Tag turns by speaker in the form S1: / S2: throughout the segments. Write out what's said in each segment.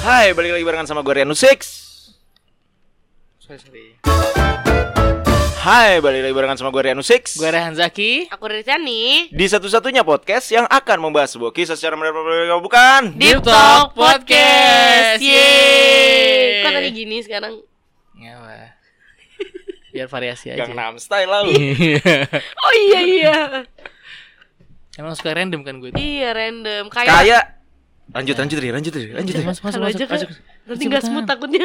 S1: Hai, balik lagi barengan sama gue Rianu Six.
S2: Sorry, sorry.
S1: Hai, balik lagi barengan sama gue Rianu Six.
S2: Gue Rehan Zaki.
S3: Aku Rita nih
S1: Di satu-satunya podcast yang akan membahas sebuah kisah secara mereka bukan.
S2: Deep Talk Podcast. Yeay.
S3: Yeay Kok tadi gini sekarang?
S2: Ngawa. Ya, Biar variasi aja. Iya.
S1: Gangnam Style lalu.
S3: Oh iya iya
S2: Emang suka random kan gue?
S3: Iya random Kayak
S1: Kayak lanjut lanjut Ri, lanjut Ri, lanjut Ri.
S2: Mas,
S3: Kalau aja kan Nanti gak
S2: Cepetan.
S3: smooth takutnya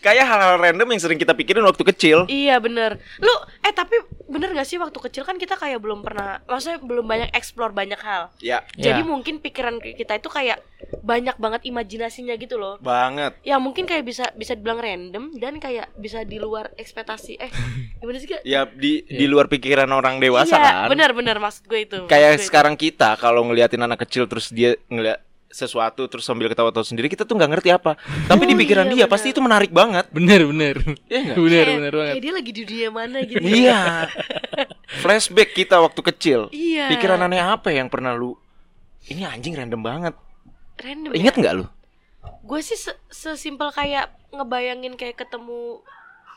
S1: Kayak hal-hal random yang sering kita pikirin waktu kecil.
S3: Iya bener Lu eh tapi bener gak sih waktu kecil kan kita kayak belum pernah Maksudnya belum banyak explore banyak hal
S1: Ya,
S2: Ya.
S3: Jadi mungkin pikiran kita itu kayak banyak banget imajinasinya gitu loh
S1: banget.
S3: Ya mungkin kayak bisa bisa dibilang random dan kayak bisa di luar ekspektasi Eh gimana sih Kak?
S1: Ya di di luar pikiran orang
S3: Iya,
S1: dewasa kan.
S3: bener-bener maksud gue itu
S1: Kayak
S3: Maksud gue itu.
S1: sekarang kita kalau ngeliatin anak kecil terus dia ngeliat sesuatu terus sambil ketawa-tawa sendiri kita tuh nggak ngerti apa. Tapi di pikiran
S3: iya,
S1: dia
S3: benar.
S1: pasti itu menarik banget.
S2: Bener, bener.
S1: Iya nggak?
S2: bener,
S3: Kayak-
S2: bener banget.
S3: kayak dia lagi di dunia mana gitu
S1: Iya. Flashback kita waktu kecil.
S3: Iya.
S1: Pikiran aneh apa yang pernah lu? Ini anjing random banget.
S3: Random
S1: Ingat nggak lu?
S3: Gue sih se- sesimpel kayak ngebayangin kayak ketemu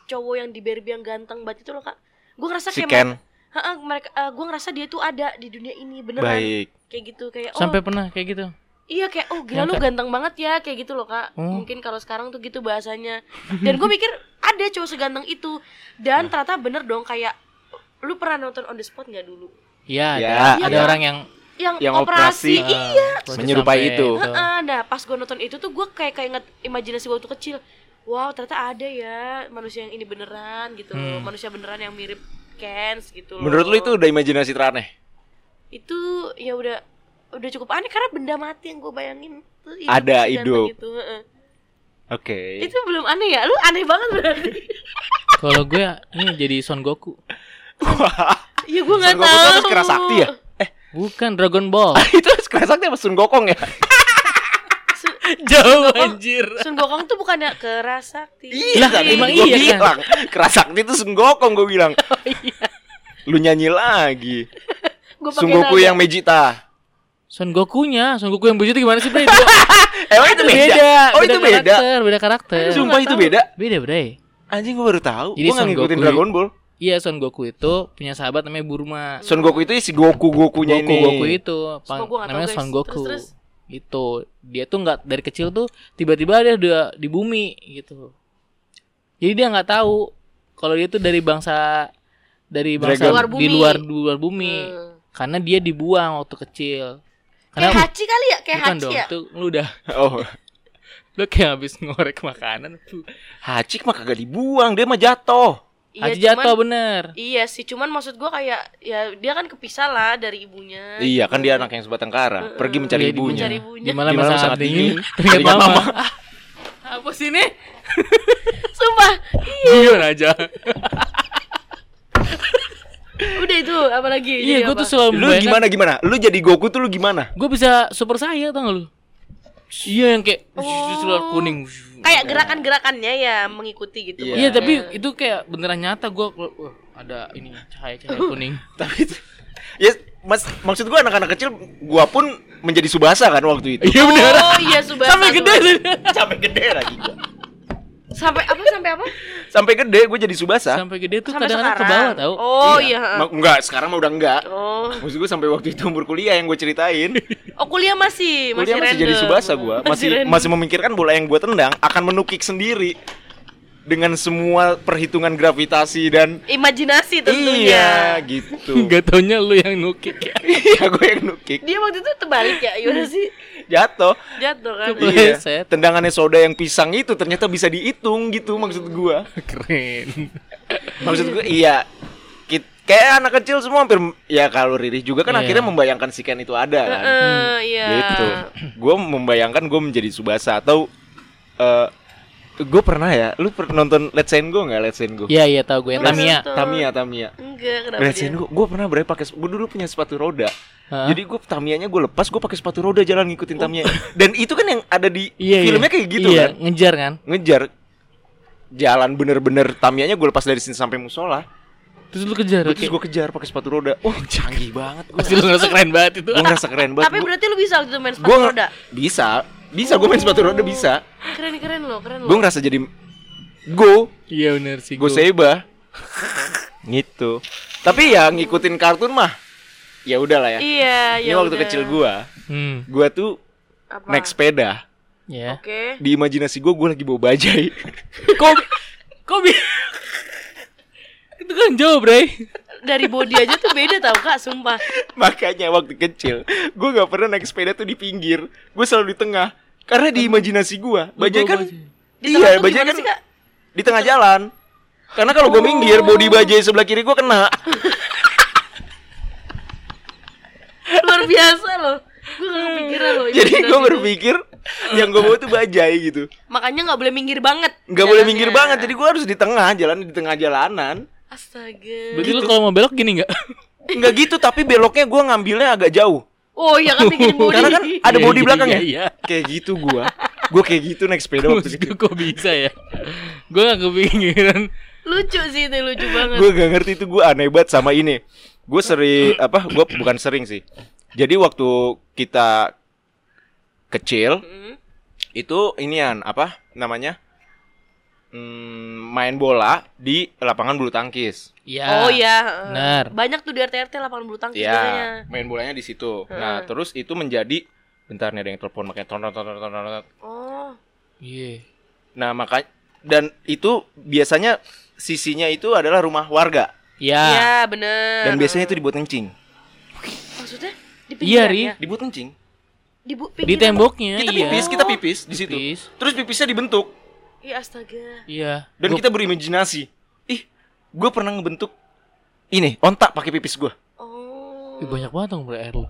S3: cowok yang di Barbie yang ganteng banget itu loh kak Gue ngerasa
S1: Si
S3: kayak
S1: Ken.
S3: Heeh, mereka, gue ngerasa dia tuh ada di dunia ini beneran
S1: Baik.
S3: Kayak gitu kayak oh
S2: Sampai pernah kayak gitu.
S3: iya kayak oh gila lu
S2: Nyangka.
S3: ganteng banget ya kayak gitu loh kak
S2: Oh.
S3: Mungkin kalau sekarang tuh gitu bahasanya Dan gue mikir ada cowok seganteng itu
S1: Nah.
S3: Dan ternyata bener dong kayak Lu pernah nonton On The Spot nggak dulu?
S2: Iya,
S1: Ya,
S2: ada, ada
S3: ada.
S2: orang yang
S3: Yang,
S1: Yang operasi.
S3: operasi,
S1: Ah.
S3: iya
S2: project
S1: Menyerupai
S2: sampai gitu.
S1: itu.
S3: Heeh, nah pas gue nonton itu tuh gue kayak kayak inget imajinasi gue waktu kecil wow ternyata ada ya manusia yang ini beneran gitu
S2: Hmm.
S3: loh manusia beneran yang mirip Kens gitu loh
S1: Menurut lu itu udah imajinasi teraneh?
S3: itu ya udah udah cukup aneh karena benda mati yang gue bayangin tuh hidup,
S1: Ada
S3: ganteng
S1: hidup.
S3: gitu, heeh.
S1: Oke.
S3: itu belum aneh ya lu aneh banget berarti
S2: Kalau gue ini jadi Son Goku.
S3: ya gue
S1: Sun
S3: nggak tahu
S1: Gokong terus kena sakti ya? Eh,
S2: Bukan Dragon Ball.
S1: itu kena sakti apa Sun Gokong ya?
S3: Sun,
S2: Jauh anjir.
S3: Sun Gokong tuh bukannya keras sakti
S1: Iya,
S2: Lah, emang
S1: gua
S2: iya,
S1: bilang.
S2: kan?
S1: Kena sakti itu Sun Gokong gue bilang. Lu nyanyi lagi.
S3: gue
S1: Sun Goku yang Mejita.
S2: Son Gokunya, Son Goku yang bujut itu gimana sih, Bre? Beda.
S1: Emang itu beda. Eh, Oh, itu beda.
S2: Karakter, beda karakter.
S3: Sun-
S1: Sumpah
S3: nggak
S1: itu
S3: tahu.
S1: beda.
S2: Beda, Bre.
S1: Anjing gue baru tahu.
S2: Jadi
S1: Gue nggak
S2: Son
S1: ngikutin
S2: Goku-
S1: Dragon Ball.
S2: Iya, Son Goku itu punya sahabat namanya Burma.
S1: Son Goku itu si Goku Gokunya
S2: Goku
S1: ini.
S2: Goku itu pang-
S3: Sumpah gua nggak tahu,
S2: namanya
S3: guys.
S2: Son Goku.
S3: Terus, terus.
S2: Itu dia tuh nggak dari kecil tuh tiba-tiba dia udah di bumi gitu. Jadi dia nggak tahu kalau dia tuh dari bangsa dari bangsa
S1: Dragon.
S3: Luar
S2: di
S3: bumi.
S2: luar di luar bumi
S3: Hmm.
S2: karena dia dibuang waktu kecil. Karena
S3: kayak Hachi kali ya kayak
S2: bukan
S3: Hachi
S2: dong,
S3: ya
S2: tuh lu udah
S1: Oh,
S2: lu kayak habis ngorek makanan tuh.
S1: Hacik mah kagak dibuang, dia mah jatuh.
S3: Iya,
S2: Haji
S3: cuman-
S2: jatuh bener.
S3: Iya sih, cuman maksud gua kayak ya dia kan kepisah lah dari ibunya.
S1: Iya, kan dia anak yang sebatang kara, pergi mencari
S2: Jadi
S1: ibunya.
S3: mencari ibunya.
S2: Iya, Di malam
S1: Di
S2: yang
S1: malam
S2: sangat
S1: sangat
S2: dingin,
S1: dingin,
S2: teringat
S1: teringat
S2: mama.
S1: mama.
S2: Ah, Apa sih ini?
S3: Sumpah, Iya.
S2: Guyon Iya, aja.
S3: udah itu apalagi.
S2: Iya, gue tuh selalu
S1: Lu
S2: membayangkan-
S1: gimana gimana? Lu jadi Goku tuh lu gimana?
S2: Gue bisa super saya tau gak lu Iya yang kayak
S3: Oh.
S2: Seluar kuning
S3: kayak gerakan-gerakannya ya mengikuti gitu.
S2: Iya
S1: Iya.
S2: tapi itu kayak beneran nyata gue Wah ada ini cahaya-cahaya kuning
S1: Tapi itu Ya, mas, maksud gua anak-anak kecil gua pun menjadi Subasa kan waktu itu.
S2: Iya bener
S3: Oh iya Subasa.
S2: Sampai gede
S3: Subasa.
S2: sih
S1: Sampai gede lagi gua.
S3: Sampai apa sampai apa?
S1: Sampai gede gua jadi Subasa.
S2: Sampai gede tuh
S3: sampai
S2: kadang-kadang ke bawah tau
S3: Oh iya.
S1: Ma- enggak, sekarang mah udah enggak.
S3: Oh.
S1: Maksud gua sampai waktu itu umur kuliah yang gue ceritain.
S3: Oh kuliah masih,
S1: Kuliah Iya, masih jadi
S3: random.
S1: subasa gua, masih
S3: random.
S1: masih memikirkan bola yang gua tendang akan menukik sendiri dengan semua perhitungan gravitasi dan
S3: imajinasi
S1: iya
S3: tentunya.
S1: gitu.
S2: Gak taunya lu yang nukik ya
S1: Iya gue yang nukik
S3: Dia waktu itu terbalik ya, gimana sih?
S1: jatuh.
S3: Jatuh kan.
S2: Coba.
S1: Iya.
S2: Pleset.
S1: Tendangannya soda yang pisang itu ternyata bisa dihitung gitu maksud gua.
S2: Keren
S1: Maksud gua iya Ki- kayak anak kecil semua hampir ya kalau Riri juga kan
S2: Iya.
S1: akhirnya membayangkan si Ken itu ada kan.
S3: Heeh, iya.
S1: gitu gue membayangkan gue menjadi subasa atau eh gue pernah ya lu per- nonton Let's Say Go nggak Let's Say Go
S2: Iya iya tau gue yang
S3: Terus
S2: Tamiya
S3: nonton.
S1: Tamiya Tamiya
S3: Enggak, kenapa
S1: Let's Say
S3: dia?
S1: Go gue pernah berapa pakai gue dulu punya sepatu roda
S2: Hah?
S1: jadi gue Tamiyanya gue lepas gue pakai sepatu roda jalan ngikutin
S3: Oh.
S1: Tamiya dan itu kan yang ada di
S2: Iya iya
S1: filmnya kayak gitu
S2: Iya
S1: kan
S2: ngejar kan
S1: ngejar jalan bener-bener Tamiyanya gue lepas dari sini sampai musola
S2: Terus lu kejar.
S1: Terus gue kejar pakai sepatu roda. Wah, canggih banget gue.
S2: Pasti lu ngerasa keren banget itu.
S1: Gue ngerasa keren banget.
S3: Tapi
S1: Gua-
S3: berarti lu bisa waktu itu main sepatu
S1: gua nge-
S3: roda. Hmm.
S1: Bisa. Bisa gue main sepatu roda bisa.
S3: Keren keren loh, keren
S1: Gue
S3: loh.
S1: ngerasa jadi go,
S2: Iya benar sih.
S1: go
S2: gua.
S1: seba. gitu. Tapi ya ngikutin kartun mah ya udahlah ya.
S3: Iya,
S1: Ini
S3: ya.
S1: waktu
S3: udah.
S1: kecil gua,
S2: Hmm.
S1: gua tuh
S3: Apa?
S1: naik sepeda.
S2: Ya.
S3: Oke.
S1: Di imajinasi gua gua lagi bawa bajai.
S2: Kok kok bi- Itu kan jauh, Bray.
S3: Dari body aja tuh beda tau Kak, sumpah.
S1: Makanya waktu kecil gua nggak pernah naik sepeda tuh di pinggir. Gua selalu di tengah. Karena di imajinasi gua,
S2: Lu
S1: bajai
S2: bawa
S1: kan
S2: bajai.
S3: Di tengah
S1: Iya,
S3: tuh
S1: bajai
S3: gimana
S1: kan
S3: sih, Kak?
S1: di tengah jalan. Karena kalau gue minggir,
S2: Oh.
S1: body bajai sebelah kiri gue kena.
S3: Luar biasa loh. Gue gak kepikiran loh.
S1: Jadi gue
S3: imajinasi itu.
S1: berpikir yang gue bawa tuh bajai gitu.
S3: Makanya gak boleh minggir banget.
S1: Gak boleh
S3: jalannya.
S1: minggir
S2: ya.
S1: banget, jadi gue harus di tengah jalan di tengah jalanan.
S3: Astaga.
S2: Berarti
S1: Gitu.
S2: lu kalau mau belok gini enggak?
S1: Enggak gitu, tapi beloknya gue ngambilnya agak jauh.
S3: Oh iya kan bikin body.
S1: Karena kan ada
S2: Iya,
S1: body
S2: iya,
S1: belakang
S2: iya,
S1: ya.
S2: iya.
S1: Kayak gitu gue. Gue kayak gitu naik sepeda waktu
S2: Maksud
S1: kecil.
S2: gua, kok bisa ya? Gue gak kepikiran
S3: lucu sih itu lucu banget.
S1: Gue gak ngerti itu gue aneh banget sama ini. Gue sering apa? Gue bukan sering sih. Jadi waktu kita kecil,
S3: Hmm.
S1: itu inian apa namanya Hmm, main bola di lapangan bulu tangkis
S2: Iya.
S3: Oh iya. eh,
S2: Benar.
S3: Banyak tuh di RT-RT lapangan bulu tangkis
S1: ya
S3: biasanya.
S1: main bolanya di situ nah terus itu menjadi bentar nih ada yang telepon makanya ton ton ton ton, ton, ton, ton.
S3: Oh.
S2: Iya.
S1: nah makanya dan itu biasanya sisinya itu adalah rumah warga
S2: Iya.
S3: Iya,
S1: dan
S3: bener.
S1: biasanya itu dibuat kencing
S3: maksudnya di
S2: Iya,
S3: pinggiran
S2: Ri.
S3: ya?
S1: dibuat kencing
S3: Di, bu,
S2: Di
S3: pinggiran. ya?
S2: temboknya
S1: kita
S2: iya.
S1: pipis kita pipis di situ
S2: Pipis.
S1: terus pipisnya dibentuk
S3: Iya, astaga.
S2: Iya.
S1: dan kita berimajinasi ih gue pernah ngebentuk ini ontak pakai pipis gue
S3: Oh.
S2: Ih, banyak banget dong bro air lu.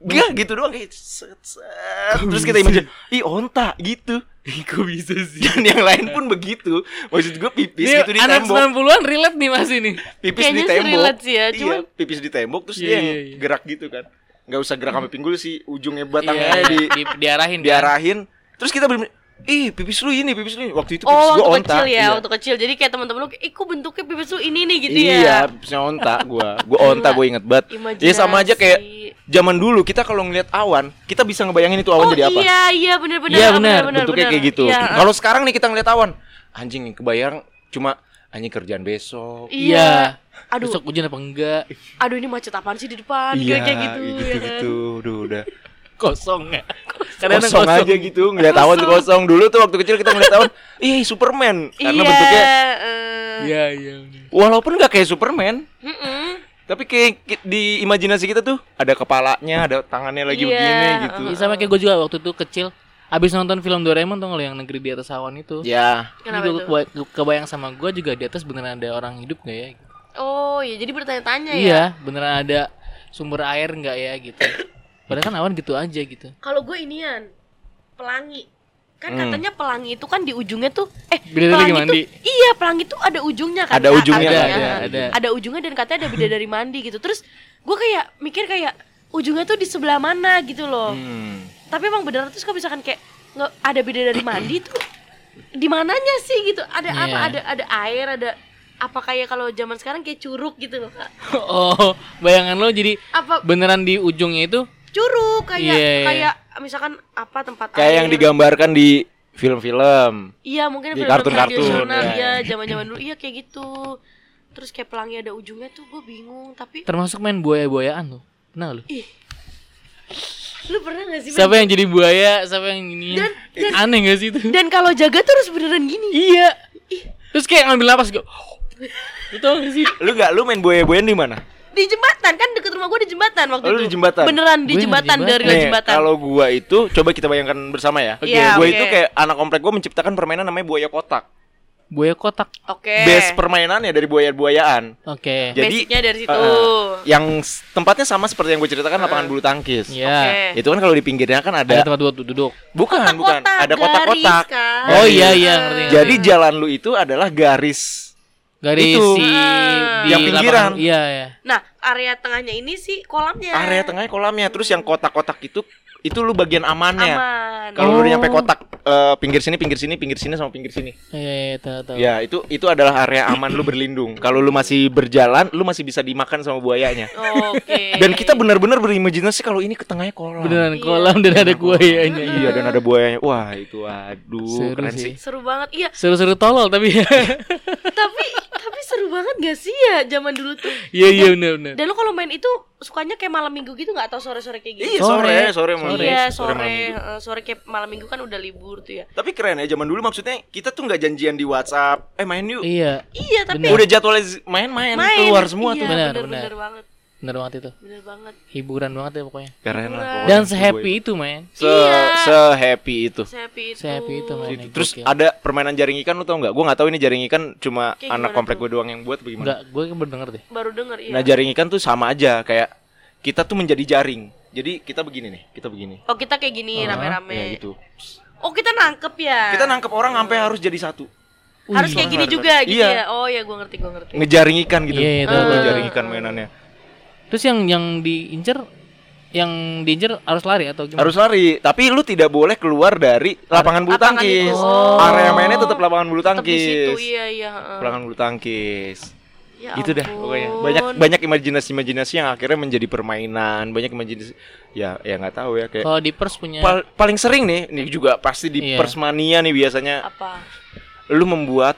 S1: Gak gitu doang kayak set, set. Terus kita imagine Ih onta gitu
S2: Kok bisa sih?
S1: Dan yang lain pun begitu Maksud gue pipis
S2: Ini
S1: gitu di
S2: anak
S1: tembok
S2: 90-an relate nih masih nih.
S1: Pipis di
S3: Kayaknya sih
S1: tembok
S3: relate sih ya,
S1: Iya
S3: cuman-
S1: pipis di tembok Terus
S2: Iya,
S1: dia yang
S2: iya, iya.
S1: gerak gitu kan Gak usah gerak sampai pinggul sih Ujungnya batangnya
S2: Iya,
S1: di,
S2: di, diarahin kan?
S1: diarahin Terus kita bener Ih pipis lu ini pipis lu ini Waktu itu pipis
S3: oh,
S1: gue
S3: waktu
S1: onta
S3: kecil ya,
S1: Iya.
S3: waktu kecil. Jadi kayak teman-teman lu, kayak, "Ih, kok bentuknya pipis lu ini nih?" gitu ya.
S1: Iya pipisnya onta gue Gue onta gue inget banget
S3: Imajinasi.
S1: Ya sama aja kayak Zaman dulu kita kalau ngeliat awan Kita bisa ngebayangin itu awan
S3: oh,
S1: jadi apa
S3: Iya, iya benar-benar.
S2: Iya, benar,
S1: bentuknya kayak gitu.
S3: Iya, ah.
S1: Kalau sekarang nih kita ngeliat awan, anjing yang kebayang cuma anjing kerjaan besok.
S3: iya.
S2: Aduh.
S3: Aduh.
S2: Besok hujan apa enggak?
S3: Aduh ini macet apaan sih di depan? Kayak- kayak gitu,
S1: gitu,
S3: ya kan?
S1: gitu. Udah, udah.
S2: Kosong ya.
S1: Kosong, aja gitu, ngeliat awan tuh kosong. Dulu tuh waktu kecil kita ngeliat awan, ih Superman. Karena
S3: iya,
S1: bentuknya
S3: eh,
S2: Iya, iya. bener.
S1: walaupun nggak kayak Superman,
S3: mm-mm.
S1: tapi kayak ki- di imajinasi kita tuh ada kepalanya, ada tangannya lagi
S3: Iya,
S1: begini gitu.
S2: Iya, sama kayak gue juga waktu itu kecil Abis nonton film Doraemon tuh lo yang negeri di atas awan itu
S1: Ya,
S3: Kenapa
S2: Ini
S3: itu?
S2: gua keba- kebayang sama gue juga di atas beneran ada orang hidup gak ya?
S3: Oh iya jadi bertanya-tanya ya.
S2: Iya, beneran ada sumber air nggak ya gitu. Padahal kan awan gitu aja gitu.
S3: Kalau gue inian pelangi. Kan katanya pelangi itu kan di ujungnya tuh eh
S2: Hmm. Bidadari
S3: pelangi
S2: mandi.
S3: tuh iya pelangi tuh ada ujungnya kan.
S1: Ada
S3: Kak,
S1: ujungnya,
S2: Ada,
S3: katanya.
S2: ada, ada.
S3: Ada ujungnya dan katanya ada beda dari mandi gitu. Terus gue kayak mikir kayak ujungnya tuh di sebelah mana gitu loh.
S1: Hmm.
S3: Tapi emang bener terus kalau misalkan kayak nggak ada beda dari mandi tuh di mananya sih gitu? Ada apa?
S2: Iya.
S3: Ada ada air, ada apa kayak kalau zaman sekarang kayak curug gitu loh, Kak.
S2: Oh, bayangan lo jadi
S3: Apa
S2: beneran di ujungnya itu
S3: curug kayak
S2: Iya, iya.
S3: kayak misalkan apa tempat
S1: kayak
S3: air. gitu.
S1: yang digambarkan di film-film.
S3: Iya mungkin
S1: Di
S3: film-film
S1: kartun-kartun,
S3: tradisional
S1: ya.
S3: ya zaman-zaman dulu iya kayak gitu. Terus kayak pelangi ada ujungnya tuh gue bingung tapi
S2: termasuk main buaya-buayaan tuh. Kenal lo?
S3: ih lu pernah gak sih?
S2: Siapa yang jadi buaya, siapa yang ini?
S3: Dan- dan-
S2: Aneh gak sih itu?
S3: Ben? Dan kalau jaga tuh harus beneran gini.
S2: Iya. Terus kayak "Oh." ngambil napas gue. Itu gak sih?
S1: Lu gak lu main buaya-buayaan di mana?
S3: Di jembatan kan deket rumah gue di jembatan waktu
S1: Oh,
S3: itu.
S1: lu di jembatan?
S3: Beneran di
S2: Gua di
S3: jembatan
S2: jembatan.
S3: dari
S1: Nih,
S3: jembatan.
S1: kalau gua itu coba kita bayangkan bersama ya.
S3: Oke. Iya,
S1: Gua
S3: oke.
S1: itu kayak anak komplek gua menciptakan permainan namanya buaya kotak.
S2: Buaya kotak.
S3: Oke.
S1: Base permainannya dari buaya-buayaan.
S2: Oke.
S1: Jadi
S3: Basicnya dari situ. Eh.
S1: eh, yang s- tempatnya sama seperti yang gue ceritakan lapangan bulu tangkis.
S2: Iya.
S3: Oke.
S1: Itu kan kalau di pinggirnya kan ada,
S2: Ada tempat buat duduk.
S1: bukan bukan
S3: Kotak-kotak,
S1: ada kotak-kotak.
S3: garis kan.
S2: Oh
S1: Garis.
S2: iya iya ngerti. ngerti.
S1: Jadi jalan lu itu adalah garis.
S2: garis
S1: itu.
S2: si di
S1: Yang pinggiran.
S2: lapangan- Iya, iya.
S3: Nah, area tengahnya ini sih kolamnya.
S1: Area tengahnya kolamnya, terus yang kotak-kotak itu itu lu bagian amannya.
S3: aman
S1: Kalau lu udah nyampe
S2: Oh.
S1: kotak eh, pinggir sini, pinggir sini, pinggir sini sama pinggir sini.
S2: Iya, iya, tahu tahu.
S1: Ya, itu itu adalah area aman lu berlindung. Kalau lu masih berjalan, lu masih bisa dimakan sama buayanya.
S3: oke
S1: Dan kita benar-benar berimajinasi kalau ini ke tengahnya kolam.
S2: Beneran
S3: Iya.
S2: kolam dan ada kuayanya.
S1: Iya, dan ada buayanya. Wah, itu aduh,
S2: Seru
S1: keren sih.
S2: sih.
S3: seru banget iya
S2: Seru-seru tolol tapi ya.
S3: tapi tapi seru banget gak sih ya zaman dulu tuh
S2: Iya, iya benar benar.
S3: dan lu kalau main itu sukanya kayak malam minggu gitu nggak atau sore sore kayak gitu
S1: Iya, sore,
S2: Sore.
S1: sore, malam.
S2: Sore.
S3: Iya,
S1: malam
S3: sore
S1: minggu.
S3: eh, sore kayak malam minggu kan udah libur tuh ya
S1: Tapi keren ya zaman dulu maksudnya kita tuh nggak janjian di WhatsApp. Eh main yuk.
S2: Iya,
S3: iya tapi
S2: Bener.
S1: Udah jadwalnya z- main-main
S3: main
S1: keluar semua
S3: Iya,
S1: tuh.
S2: Benar,
S3: bener,
S2: benar.
S3: bener banget
S2: bener banget itu.
S3: bener banget
S2: Hiburan banget ya pokoknya.
S1: Keren lah. pokoknya.
S2: Dan se-happy itu, men.
S1: se
S3: Iya.
S1: se happy itu.
S3: Sehappy itu
S2: Se-happy itu,
S3: Oh,
S2: men.
S1: Itu. Gitu. Terus
S2: Gokil.
S1: ada permainan jaring ikan lu tau nggak? Gue nggak tahu ini jaring ikan cuma
S3: ya. Kayak
S1: anak
S3: gimana
S1: komplek
S3: tuh?
S1: gue doang yang buat bagaimana?
S2: Enggak, gue kan berdengar deh.
S3: baru denger iya
S1: Nah jaring ikan tuh sama aja kayak kita tuh menjadi jaring. Jadi kita begini nih, kita begini.
S3: oh kita kayak gini rame-rame
S1: Ya gitu.
S3: oh kita nangkep ya
S1: Kita nangkep orang sampai harus jadi satu.
S3: harus kayak gini juga gitu
S1: Iya.
S3: ya oh ya gua ngerti gua ngerti
S1: Ngejaring ikan gitu.
S2: Iya, iya, tahu, tahu.
S1: Ngejaring ikan mainannya.
S2: Terus yang yang diincer yang diincer harus lari atau gimana?
S1: Harus lari, tapi lu tidak boleh keluar dari lapangan bulu
S3: Lapangan
S1: tangkis.
S3: itu. Oh.
S1: Area mainnya tetap lapangan bulu
S3: Tetep di situ
S1: tangkis.
S3: iya iya heeh.
S1: Lapangan bulu tangkis.
S3: ya
S1: gitu dah pokoknya
S3: ampun.
S1: banyak banyak imajinasi imajinasi yang akhirnya menjadi permainan banyak imajinasi ya ya nggak tahu ya kayak
S2: Kalau di pers punya
S1: Pal- paling sering nih ini juga pasti di
S2: Iya.
S1: persmania nih biasanya
S3: apa
S1: lu membuat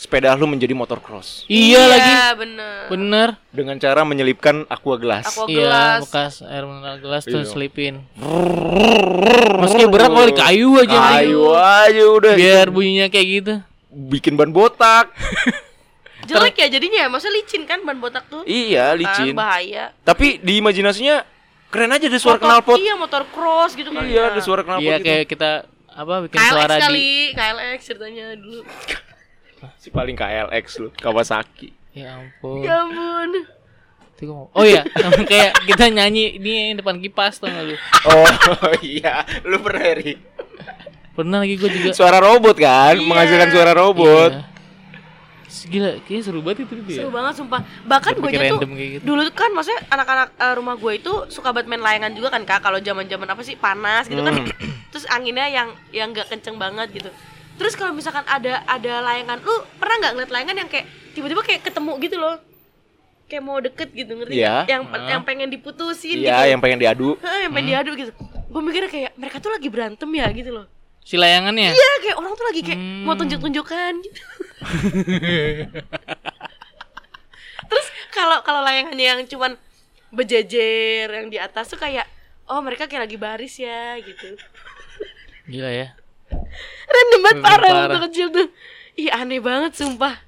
S1: sepeda lu menjadi motor cross
S2: Iya lagi.
S3: bener
S2: Bener.
S1: dengan cara menyelipkan aqua gelas
S3: Aqua- Oh,
S2: Iya,
S3: gelas.
S2: bekas air mineral gelas
S1: Iya.
S2: tuh selipin. Meski berat kalau kayu aja men.
S1: kayu aja udah
S2: Biar bunyinya kayak gitu.
S1: bikin ban botak
S3: jelek ya jadinya maksudnya licin kan ban botak tuh
S1: iya
S3: kan
S1: licin
S3: bahaya
S1: tapi di imajinasinya keren aja ada suara knalpot
S3: Motor- iya motor cross gitu kan
S1: iya ada suara knalpot
S2: Iya
S1: gitu.
S2: kayak kita apa bikin
S3: KLX
S2: suara di
S3: kali KLX ceritanya dulu
S1: si paling KLX lu Kawasaki
S2: Ya ampun.
S3: ya ampun
S2: Itu gua mau- Oh iya, sama kayak kita nyanyi ini yang depan kipas tuh lu.
S1: oh iya lu pernah Eri?
S2: Pernah lagi gue juga.
S1: suara robot kan
S3: Iya.
S1: menghasilkan suara robot
S2: Iya. Gila, kayaknya seru banget itu dia.
S3: seru banget sumpah bahkan
S2: Iya. Berpikir
S3: gue aja tuh
S2: random kayak gitu.
S3: dulu tuh kan maksudnya anak-anak eh, rumah gue itu suka banget main layangan juga kan kak kalau zaman zaman apa sih panas gitu kan
S2: Hmm.
S3: terus anginnya yang yang nggak kenceng banget gitu terus kalau misalkan ada ada layangan lu pernah nggak ngeliat layangan yang kayak tiba-tiba kayak ketemu gitu loh kayak mau deket gitu ngerti nggak?
S1: Iya.
S3: yang yang pengen diputusin
S1: iya
S3: gitu
S1: yang pengen diadu
S3: Heeh, yang pengen
S2: Hmm.
S3: diadu gitu gue mikirnya kayak mereka tuh lagi berantem ya gitu loh
S2: Si layangannya.
S3: iya kayak orang tuh lagi kayak mau tunjuk-tunjukkan gitu. terus kalau kalau layangannya yang cuman berjejer yang di atas tuh kayak oh mereka kayak lagi baris ya gitu
S2: Gila ya.
S3: random
S2: Random
S3: banget parah
S2: parah.
S3: waktu kecil tuh ih aneh banget sumpah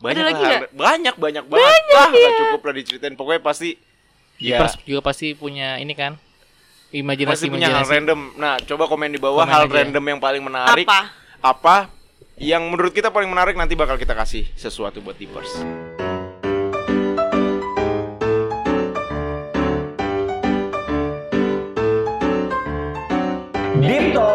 S1: banyak
S3: Ada lagi
S1: lah.
S3: nggak? iya.
S1: banyak banyak banget lah nggak cukup lah diceritain pokoknya pasti ya
S2: Pers juga pasti punya ini kan.
S1: pasti
S2: Imajinasi
S1: punya hal
S2: imajinasi.
S1: random nah coba komen di bawah
S2: Komen
S1: hal
S2: aja.
S1: random yang paling menarik
S3: Apa?
S1: apa yang menurut kita paling menarik nanti bakal kita kasih sesuatu buat tipers
S4: Deep Talk